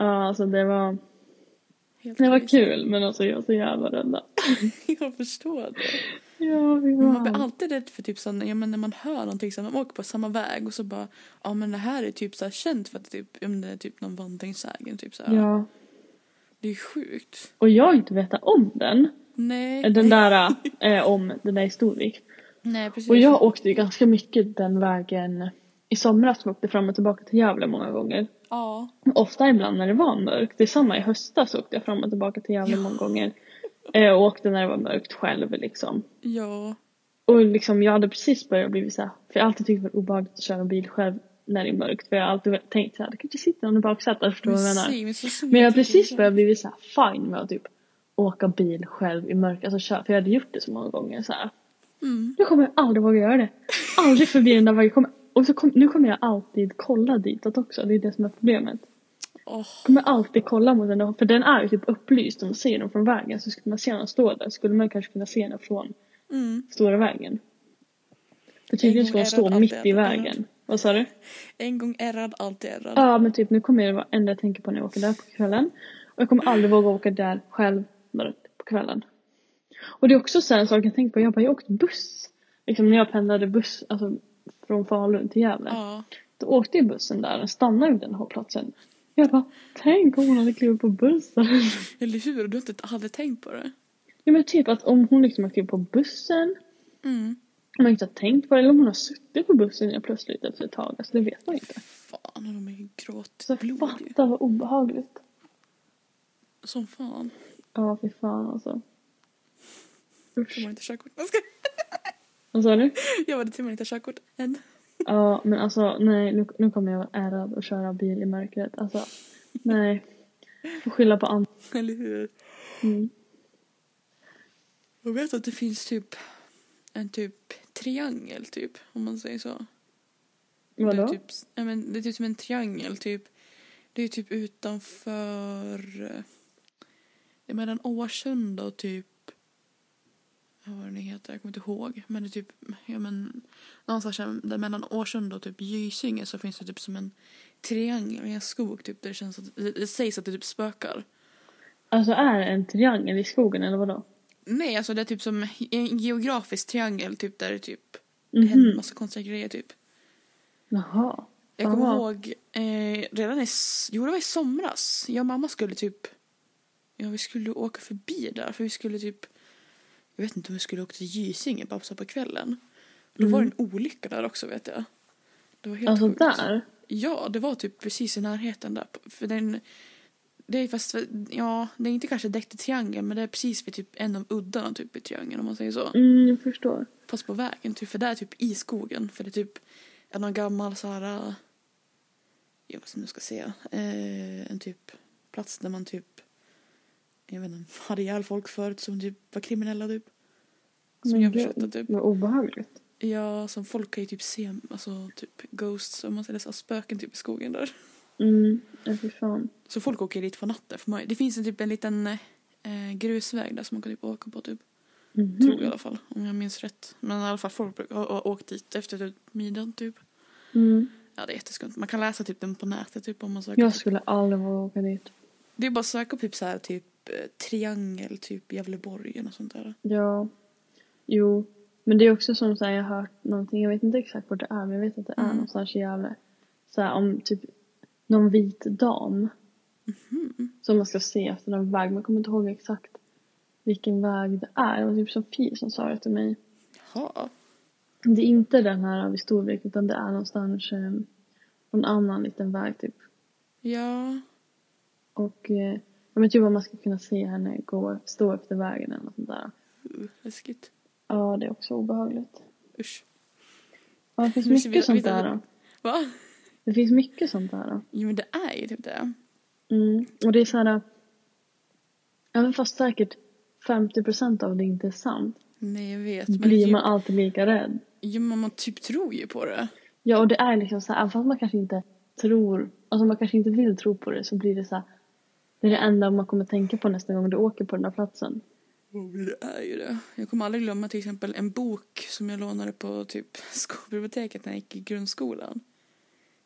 Speaker 2: Ja alltså det var,
Speaker 1: Helt
Speaker 2: det var
Speaker 1: sjukt.
Speaker 2: kul men alltså jag var så jävla rädd.
Speaker 1: Jag förstår det.
Speaker 2: Ja, fy
Speaker 1: Man blir
Speaker 2: fan.
Speaker 1: alltid rädd för typ sån, ja, men när man hör någonting så här, man åker på samma väg och så bara ja men det här är typ så här känt för att det är typ, om det är typ någon vandringssägen typ så här.
Speaker 2: Ja.
Speaker 1: Det är sjukt.
Speaker 2: Och jag har inte vetat om den.
Speaker 1: Nej.
Speaker 2: Den där eh, om den där i Storvik.
Speaker 1: Nej precis.
Speaker 2: Och jag åkte ju ganska mycket den vägen i somras. Jag åkte fram och tillbaka till Gävle många gånger.
Speaker 1: Ja.
Speaker 2: Ofta ibland när det var mörkt. Det är samma i höstas åkte jag fram och tillbaka till Gävle många gånger. Eh, och åkte när det var mörkt själv liksom.
Speaker 1: Ja.
Speaker 2: Och liksom jag hade precis börjat bli så här, för jag har alltid tyckt det var obehagligt att köra bil själv när det är mörkt. För jag har alltid tänkt så här, det kanske sitter någon i baksätet, förstår du vad jag menar?
Speaker 1: Musik, men så liksom, snyggt.
Speaker 2: Men jag har precis börjat bli så här fine med att typ åka bil själv i mörker, alltså köra, för jag hade gjort det så många gånger så här.
Speaker 1: Mm.
Speaker 2: Nu kommer jag aldrig våga göra det. Aldrig förbi den där vägen. Kommer- Och så kom, nu kommer jag alltid kolla ditåt också, det är det som är problemet.
Speaker 1: Åh,
Speaker 2: Jag kommer alltid kolla mot den, för den är ju typ upplyst om man ser den från vägen. Så skulle man se den stå där skulle man kanske kunna se den från
Speaker 1: Mm.
Speaker 2: stora vägen. För tydligen ska
Speaker 1: gång
Speaker 2: hon
Speaker 1: är
Speaker 2: stå
Speaker 1: det
Speaker 2: mitt
Speaker 1: alltid
Speaker 2: i
Speaker 1: en annan.
Speaker 2: vägen. Vad sa du?
Speaker 1: En gång ärrad, alltid ärrad.
Speaker 2: Ja men typ nu kommer det vara enda jag tänker på när jag åker där på kvällen. Och jag kommer aldrig våga åka där själv mörkt på kvällen. Och det är också så här en sak jag tänker på. Jag bara, jag åkte buss. Liksom när jag pendlade buss, alltså från Falun till Gävle.
Speaker 1: Ja.
Speaker 2: Då åkte ju bussen där, den stannade vid den hållplatsen. Jag bara, tänk om hon hade klivit på bussen.
Speaker 1: Eller hur? Du har inte hade tänkt på det.
Speaker 2: Ja men typ att om hon liksom har klivit på bussen,
Speaker 1: Mm.
Speaker 2: om man inte har tänkt på det, eller om hon har suttit på bussen ja, plötsligt efter ett tag, alltså det vet man inte.
Speaker 1: Fan, och de är ju
Speaker 2: Så
Speaker 1: gråtblod ju.
Speaker 2: fatta vad obehagligt.
Speaker 1: Som fan.
Speaker 2: Ja fy fan alltså.
Speaker 1: Tur
Speaker 2: Usch.
Speaker 1: man inte har körkort. Jag ska-
Speaker 2: Vad sa du?
Speaker 1: Jag var det tur man inte har körkort än.
Speaker 2: Ja, men alltså nej, nu, nu kommer jag vara ärad och köra bil i mörkret. Alltså, nej. Får skylla på andra.
Speaker 1: Eller hur?
Speaker 2: Mm.
Speaker 1: Jag vet att det finns typ en typ triangel typ, om man säger så. Det är,
Speaker 2: Vadå?
Speaker 1: typ, ja, men det är typ som en triangel. Typ. Det är typ utanför... eh, Det är mellan Årsunda och typ... ja, Vad den heter, jag kommer inte ihåg. Men det är typ... Ja, men, någonstans där där mellan Årsunda och typ Gysinge så finns det typ som en triangel i en skog. Typ, där det, känns att, det, det sägs att det typ spökar.
Speaker 2: Alltså är det en triangel i skogen eller vadå?
Speaker 1: Nej, alltså det är typ som en geografisk triangel typ där det typ händer
Speaker 2: Mhm.
Speaker 1: massa konstiga grejer typ.
Speaker 2: Jaha.
Speaker 1: Jag kommer
Speaker 2: Aha.
Speaker 1: ihåg eh, redan i, s- jo, det var i somras. Jag och mamma skulle typ... Ja, vi skulle åka förbi där. För vi skulle typ... Jag vet inte om vi skulle åka till Gysinge bara så på kvällen. Då var det en olycka där också, vet jag. Det var helt
Speaker 2: Mm. Alltså
Speaker 1: sjukt.
Speaker 2: där?
Speaker 1: Ja, det var typ precis i närheten där. på- För den... Det är fast... Ja, det är inte kanske däckt i triangeln, men det är precis vid typ en av uddarna typ i triangeln, om man säger så
Speaker 2: Mm, jag förstår.
Speaker 1: fast på vägen. Typ, för det är typ i skogen. För det är typ en någon gammal så här... äh, Jag vet inte vad jag ska säga. Eh, en typ plats där man typ... Jag vet inte, hade ihjäl folk förut som typ var kriminella typ. Som
Speaker 2: Men
Speaker 1: jag
Speaker 2: gud,
Speaker 1: förstått det typ.
Speaker 2: Vad obehagligt.
Speaker 1: Ja, som folk kan ju typ se, alltså typ ghosts, om man säger så, spöken typ i skogen där.
Speaker 2: Mm, ja fy fan.
Speaker 1: Så folk åker dit på natten. För man, det finns en typ en liten eh, grusväg där som man kan typ åka på typ.
Speaker 2: Mhm.
Speaker 1: Tror jag i alla fall, om jag minns rätt. Men i alla fall folk brukar- har har åkt dit efter typ middagen typ.
Speaker 2: Mm.
Speaker 1: Ja, det är jätteskumt. Man kan läsa typ den på nätet typ om man söker.
Speaker 2: Jag skulle aldrig våga åka dit.
Speaker 1: Det är bara att söka typ så här typ eh, triangel, typ Gävleborg eller något sånt där.
Speaker 2: Ja. Jo. Men det är också som så här, jag har hört någonting, jag vet inte exakt vart det är men jag vet att det är
Speaker 1: Mm.
Speaker 2: någonstans i Gävle. Så här, om typ någon vit dam.
Speaker 1: Mm-hmm.
Speaker 2: Som man ska se efter någon väg, men jag kommer inte ihåg exakt vilken väg det är. Det var typ Sofie som sa det till mig.
Speaker 1: Jaha.
Speaker 2: Det är inte den här vid Storvik utan det är någonstans eh, någon annan liten väg typ.
Speaker 1: Ja.
Speaker 2: Och eh, jag vet typ om man ska kunna se henne gå, stå efter vägen eller något sånt där.
Speaker 1: Uh, läskigt.
Speaker 2: Ja, det är också obehagligt.
Speaker 1: Usch.
Speaker 2: Ja, det finns
Speaker 1: Men så
Speaker 2: mycket
Speaker 1: vet-
Speaker 2: sånt
Speaker 1: vet du-
Speaker 2: där. Då.
Speaker 1: Va?
Speaker 2: Det finns mycket sånt där. Då.
Speaker 1: Jo men det är ju typ det.
Speaker 2: Mm. Och det är så här... Även fast säkert 50 procent av det inte är sant
Speaker 1: Nej jag vet. Men det är
Speaker 2: blir
Speaker 1: ju,
Speaker 2: man alltid lika rädd.
Speaker 1: jo, men man typ tror ju på det.
Speaker 2: Ja, och det är liksom så här, även fast man kanske inte tror, alltså man kanske inte vill tro på det så blir det så här, det är det enda man kommer tänka på nästa gång du åker på den där platsen.
Speaker 1: Jo, men Det är ju det. Jag kommer aldrig glömma till exempel en bok som jag lånade på typ skolbiblioteket när jag gick i grundskolan.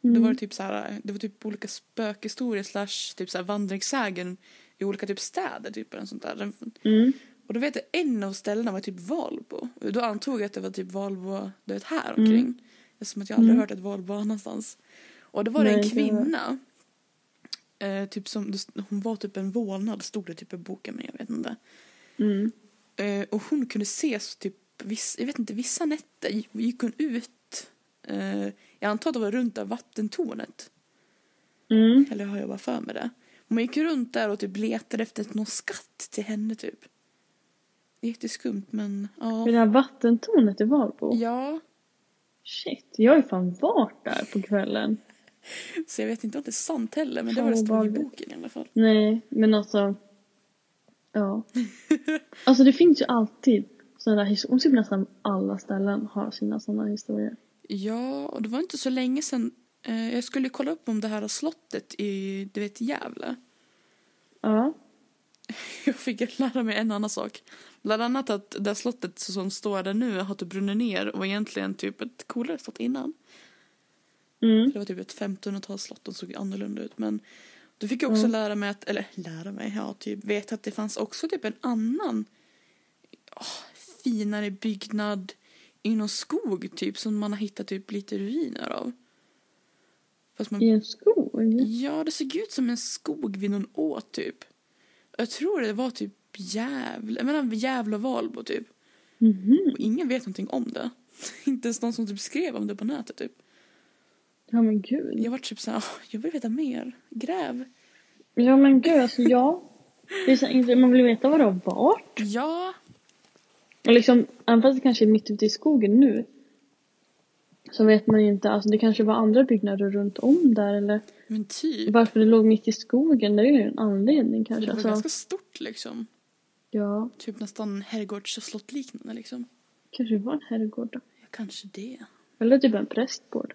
Speaker 2: Mm.
Speaker 1: Då var det typ så här, det var typ olika spökhistorier slash typ så här vandringssägen i olika typ städer typ eller sånt där. Den-
Speaker 2: Mm.
Speaker 1: Och då vet jag en av ställena var typ Valbo. Och då antog jag att det var typ Valbo, du vet här omkring. Eftersom att jag aldrig
Speaker 2: Mm.
Speaker 1: hört ett Valbo annanstans. Och då var det
Speaker 2: Nej,
Speaker 1: en
Speaker 2: det var-
Speaker 1: kvinna. Eh, typ som, det st- hon var typ en vålnad stod det typ i boken men jag vet inte.
Speaker 2: Mm.
Speaker 1: Eh, och hon kunde ses typ, viss, jag vet inte, vissa nätter gick- gick hon ut. Eh, jag antar att det var runt där vattentornet.
Speaker 2: Mm.
Speaker 1: Eller har jag bara för mig det? Hon gick runt där och typ letade efter någon skatt till henne typ. Det är jätteskumt men ja.
Speaker 2: Vid det här vattentornet i Valbo?
Speaker 1: Ja,
Speaker 2: Shit, jag har ju fan varit där på kvällen.
Speaker 1: så jag vet inte om det är sant heller men det
Speaker 2: Fan,
Speaker 1: var det som stod i
Speaker 2: obehagligt.
Speaker 1: boken i alla fall.
Speaker 2: Nej, men alltså. Ja. Alltså det finns ju alltid sådana där historier. Typ nästan alla ställen har sina sådana historier.
Speaker 1: Ja, och det var inte så länge sedan. Eh, jag skulle kolla upp om det här slottet i, du vet, Gävle.
Speaker 2: Ja.
Speaker 1: Jag fick lära mig en annan sak. Bland annat att det här slottet som står där nu har typ brunnit ner och var egentligen typ ett coolare slott innan.
Speaker 2: Mm.
Speaker 1: Det var typ ett 1500-talsslott, de såg annorlunda ut. Men då fick jag också
Speaker 2: Mm.
Speaker 1: lära mig att, eller lära mig, ja typ, vet att det fanns också typ en annan åh, finare byggnad i någon skog typ som man har hittat typ lite ruiner av. Fast man,
Speaker 2: I en skog?
Speaker 1: ja, det såg ut som en skog vid någon å typ. Jag tror det var typ Gävle, jag menar Gävle och Valbo typ.
Speaker 2: Mhm.
Speaker 1: Och ingen vet någonting om det. Inte ens någon som typ skrev om det på nätet typ.
Speaker 2: Ja men gud.
Speaker 1: Jag var typ såhär, "Åh, jag vill veta mer. Gräv.
Speaker 2: Ja men gud alltså ja. Det är så här intressant. man vill veta vad det har varit.
Speaker 1: Ja.
Speaker 2: Och liksom, även fast det kanske är mitt ute i skogen nu. Så vet man ju inte, alltså det kanske var andra byggnader runt om där eller
Speaker 1: Men typ.
Speaker 2: varför det låg mitt i skogen, det är ju en anledning
Speaker 1: Det
Speaker 2: kanske.
Speaker 1: var
Speaker 2: Alltså,
Speaker 1: ganska stort liksom.
Speaker 2: ja,
Speaker 1: Typ nästan herrgårds och slottliknande liksom.
Speaker 2: kanske det var en herrgård då.
Speaker 1: Ja, kanske det.
Speaker 2: Eller typ en prästgård.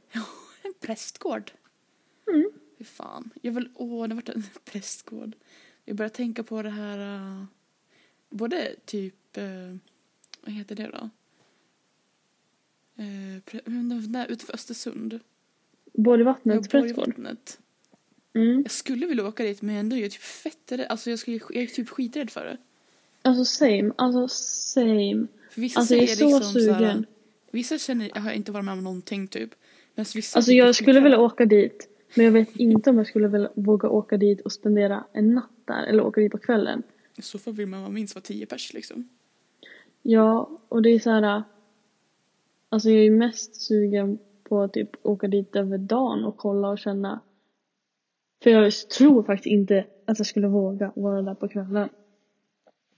Speaker 1: En prästgård.
Speaker 2: Mm.
Speaker 1: Fy fan. Jag vill, åh, det vart en prästgård. Jag börjar tänka på det här, eh, både typ, eh, vad heter det då? Uh, prä, men den där utanför Östersund.
Speaker 2: Borgvattnets
Speaker 1: Jag bor i
Speaker 2: prästgård.
Speaker 1: vattnet.
Speaker 2: Mm.
Speaker 1: Jag skulle vilja åka dit men ändå är jag typ fett rädd. Alltså jag, skulle, jag är typ skiträdd för det.
Speaker 2: Alltså same, alltså same.
Speaker 1: För vissa
Speaker 2: Alltså jag är
Speaker 1: säger
Speaker 2: så
Speaker 1: liksom så här,
Speaker 2: sugen.
Speaker 1: Vissa känner, har inte varit med om någonting typ. Men vissa typ-
Speaker 2: Alltså
Speaker 1: tycker
Speaker 2: jag skulle
Speaker 1: skiträdd.
Speaker 2: vilja åka dit. Men jag vet inte om jag skulle vilja våga åka dit och spendera en natt där. Eller åka dit på kvällen.
Speaker 1: I så fall vill man vara minst vara tio pers liksom.
Speaker 2: Ja, och det är så här. äh, Alltså jag är ju mest sugen på att typ åka dit över dagen och kolla och känna. För jag tror faktiskt inte att jag skulle våga vara där på kvällen.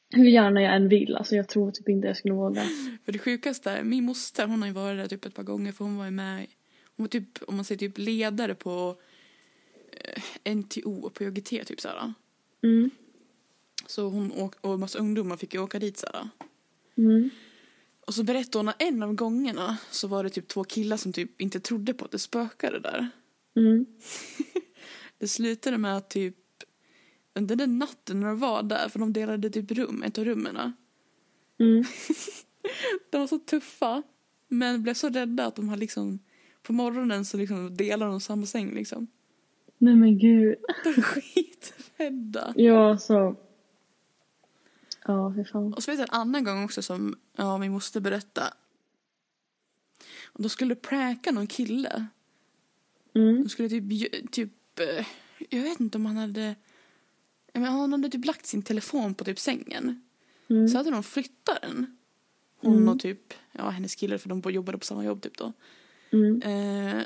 Speaker 2: Hur gärna jag än vill, alltså jag tror typ inte jag skulle våga.
Speaker 1: För det sjukaste är, min moster hon har ju varit där typ ett par gånger för hon var ju med, hon var typ, om man säger typ ledare på eh, NTO och på UGT typ såhär.
Speaker 2: Mm,
Speaker 1: Så hon åk, och en massa ungdomar fick ju åka dit såhär.
Speaker 2: mm,
Speaker 1: Och så berättade hon att en av gångerna så var det typ två killar som typ inte trodde på att det spökade där.
Speaker 2: mm.
Speaker 1: Det slutade med att typ under den natten när de var där, för de delade typ rum, ett av rummen.
Speaker 2: Mm.
Speaker 1: De var så tuffa, men blev så rädda att de hade liksom på morgonen så liksom delade de samma säng liksom.
Speaker 2: Nej men gud.
Speaker 1: De var skiträdda.
Speaker 2: Ja, så. Ja, hur fan.
Speaker 1: Och så vet jag en annan gång också som, ja vi måste berätta. Och då skulle präka någon kille.
Speaker 2: Mm,
Speaker 1: De skulle typ, bjö- typ eh, jag vet inte om han hade, jag menar, han hade typ lagt sin telefon på typ sängen.
Speaker 2: mm,
Speaker 1: Så hade de flyttat den. Hon
Speaker 2: Mm.
Speaker 1: och typ, ja hennes kille för de bo- jobbade på samma jobb typ då.
Speaker 2: mm,
Speaker 1: Eh,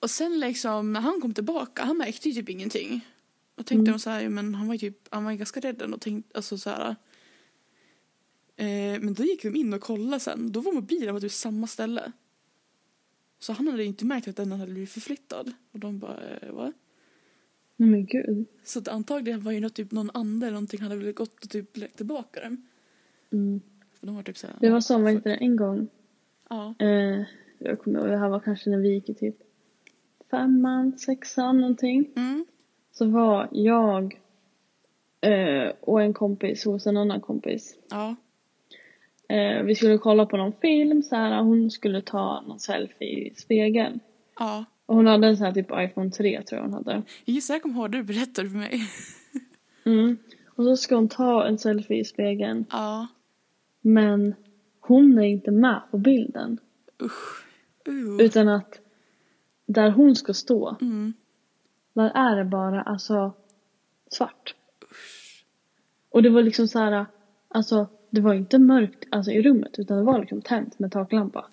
Speaker 1: och sen liksom när han kom tillbaka, han märkte ju typ ingenting. Och tänkte
Speaker 2: Mm.
Speaker 1: de så här, ja, men han var ju typ, han var ju ganska rädd ändå. Tänkte, alltså så här. Eh, men då gick de in och kollade sen, då var mobilen på typ samma ställe. Så han hade ju inte märkt att den hade blivit förflyttad. Och de bara, eh, va?
Speaker 2: nej men gud.
Speaker 1: Så att antagligen var ju något, typ någon ande eller någonting hade väl gått och typ lagt tillbaka den.
Speaker 2: Mm.
Speaker 1: För de var typ så här,
Speaker 2: Det var som, vad heter det, en gång.
Speaker 1: Ja.
Speaker 2: Eh, jag kommer ihåg, det här var kanske när vi gick i typ femman, sexan någonting.
Speaker 1: Mm.
Speaker 2: Så var jag eh, och en kompis hos en annan kompis.
Speaker 1: Ja.
Speaker 2: Eh, vi skulle kolla på någon film så här, hon skulle ta någon selfie i spegeln.
Speaker 1: Ja.
Speaker 2: Och hon hade en sån här typ iPhone 3 tror jag hon hade.
Speaker 1: Just det, jag kommer ihåg det du berättade för mig.
Speaker 2: Mm. Och så ska hon ta en selfie i spegeln.
Speaker 1: Ja.
Speaker 2: Men hon är inte med på bilden.
Speaker 1: Usch. Uh.
Speaker 2: Utan att där hon ska stå,
Speaker 1: Mm.
Speaker 2: där är det bara alltså svart. Och det var liksom så här, alltså det var inte mörkt alltså, i rummet utan det var liksom tänt med taklampa.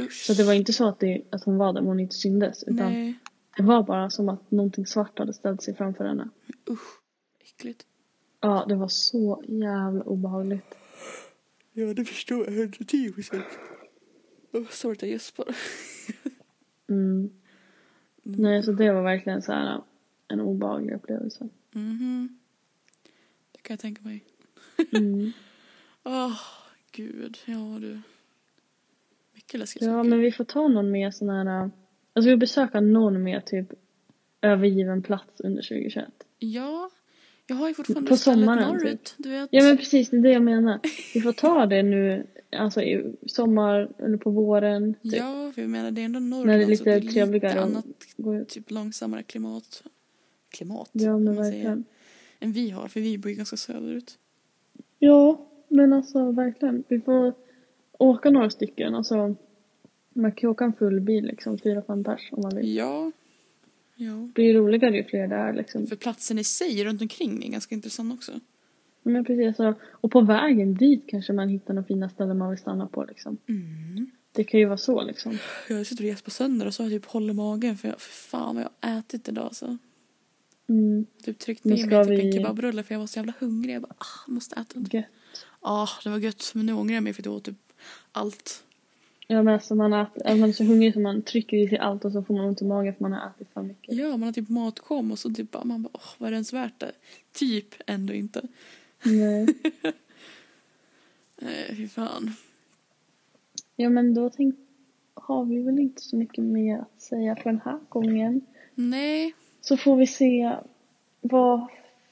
Speaker 1: Usch.
Speaker 2: Så det var inte så att, det, att hon var där men hon inte syndes utan
Speaker 1: Nej.
Speaker 2: det var bara som att någonting svart hade ställt sig framför henne.
Speaker 1: Usch. Äckligt.
Speaker 2: Ja, det var så jävla obehagligt.
Speaker 1: Ja, det förstår jag. 110 procent. Oh, sorry att jag gäspar.
Speaker 2: Mm. Nej, så det var verkligen så här en obehaglig upplevelse.
Speaker 1: Mhm. Det kan jag tänka mig.
Speaker 2: Mm.
Speaker 1: Åh, gud. Ja, du. Mycket läskiga
Speaker 2: Ja,
Speaker 1: saker.
Speaker 2: men vi får ta någon mer sån här... Alltså vi besöker någon mer typ övergiven plats under 2021.
Speaker 1: Ja. Jag har ju fortfarande
Speaker 2: På
Speaker 1: stället
Speaker 2: sommaren, typ.
Speaker 1: norrut. Du vet.
Speaker 2: Ja men precis, det är det jag menar. Vi får ta det nu, alltså i sommar eller på våren. Typ.
Speaker 1: Ja, för jag menar det är ändå Norrland.
Speaker 2: När det är
Speaker 1: så
Speaker 2: lite
Speaker 1: det är
Speaker 2: trevligare
Speaker 1: Lite
Speaker 2: och-
Speaker 1: annat
Speaker 2: Gå ut.
Speaker 1: typ långsammare klimat. Klimat?
Speaker 2: Ja
Speaker 1: om
Speaker 2: men
Speaker 1: man säger,
Speaker 2: verkligen.
Speaker 1: Än vi har, för vi bor ju ganska söderut.
Speaker 2: Ja, men alltså verkligen. Vi får åka några stycken. Alltså Man kan ju åka en full bil liksom, fyra, fem pers om man vill.
Speaker 1: Ja. ja.
Speaker 2: Det blir ju roligare ju fler det är liksom.
Speaker 1: För platsen i sig runt omkring är ganska intressant också.
Speaker 2: Men precis, så- och på vägen dit kanske man hittar några fina ställen man vill stanna på liksom.
Speaker 1: Mm.
Speaker 2: Det kan ju vara så liksom.
Speaker 1: Jag sitter och gäspar sönder och så har jag typ håller magen för jag, för fan vad jag har ätit idag så.
Speaker 2: Mm,
Speaker 1: Typ tryckte
Speaker 2: Men
Speaker 1: i
Speaker 2: ska
Speaker 1: mig typ en
Speaker 2: vi-
Speaker 1: kebabrulle för jag var så jävla hungrig. Jag bara, ah, jag måste äta. Ja,
Speaker 2: gött.
Speaker 1: ah, det var gött men nu ångrar jag mig för att jag åt typ allt.
Speaker 2: Ja men alltså man, äter, alltså man är så hungrig så man trycker i sig allt och så får man ont i magen för man har ätit för mycket.
Speaker 1: Ja, man har typ matkom och så typ bara, man bara, åh, vad är det ens värt det? Typ ändå inte.
Speaker 2: Nej.
Speaker 1: Nej, Eh, fy fan.
Speaker 2: Ja men då tänk, har vi väl inte så mycket mer att säga för den här gången.
Speaker 1: Nej,
Speaker 2: Så får vi se vad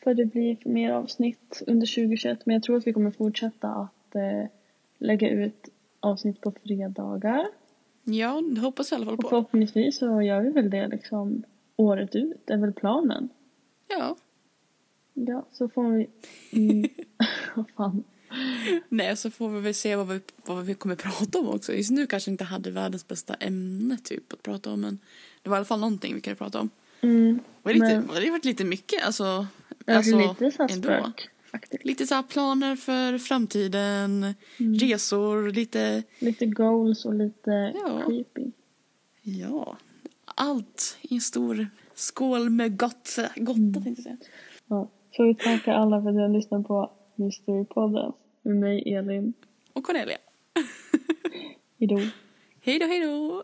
Speaker 2: för det blir för mer avsnitt under 2021 men jag tror att vi kommer fortsätta att eh, lägga ut avsnitt på fredagar.
Speaker 1: ja, det hoppas jag i alla
Speaker 2: Och
Speaker 1: fall på.
Speaker 2: förhoppningsvis så gör vi väl det liksom året ut, det är väl planen.
Speaker 1: Ja,
Speaker 2: Ja, så får vi... Mm. Vad fan.
Speaker 1: nej, så får vi väl se vad vi, vad vi kommer prata om också. Just nu kanske inte hade världens bästa ämne typ att prata om, men det var i alla fall någonting vi kunde prata om.
Speaker 2: Mm.
Speaker 1: Det var lite,
Speaker 2: Men-
Speaker 1: det har varit lite mycket, alltså.
Speaker 2: Alltså,
Speaker 1: alltså,
Speaker 2: lite så här
Speaker 1: ändå.
Speaker 2: spök. Faktiskt.
Speaker 1: Lite så här planer för framtiden,
Speaker 2: Mm.
Speaker 1: resor, lite,
Speaker 2: Lite goals och lite
Speaker 1: Ja.
Speaker 2: creepy.
Speaker 1: ja, allt i en stor skål med gott, gotta
Speaker 2: Mm.
Speaker 1: tänkte jag säga.
Speaker 2: Ja. Så vi tackar alla för att ni har lyssnat på Mysterypodden med mig, Elin.
Speaker 1: Och Cornelia.
Speaker 2: Hejdå.
Speaker 1: Hej då, hej då!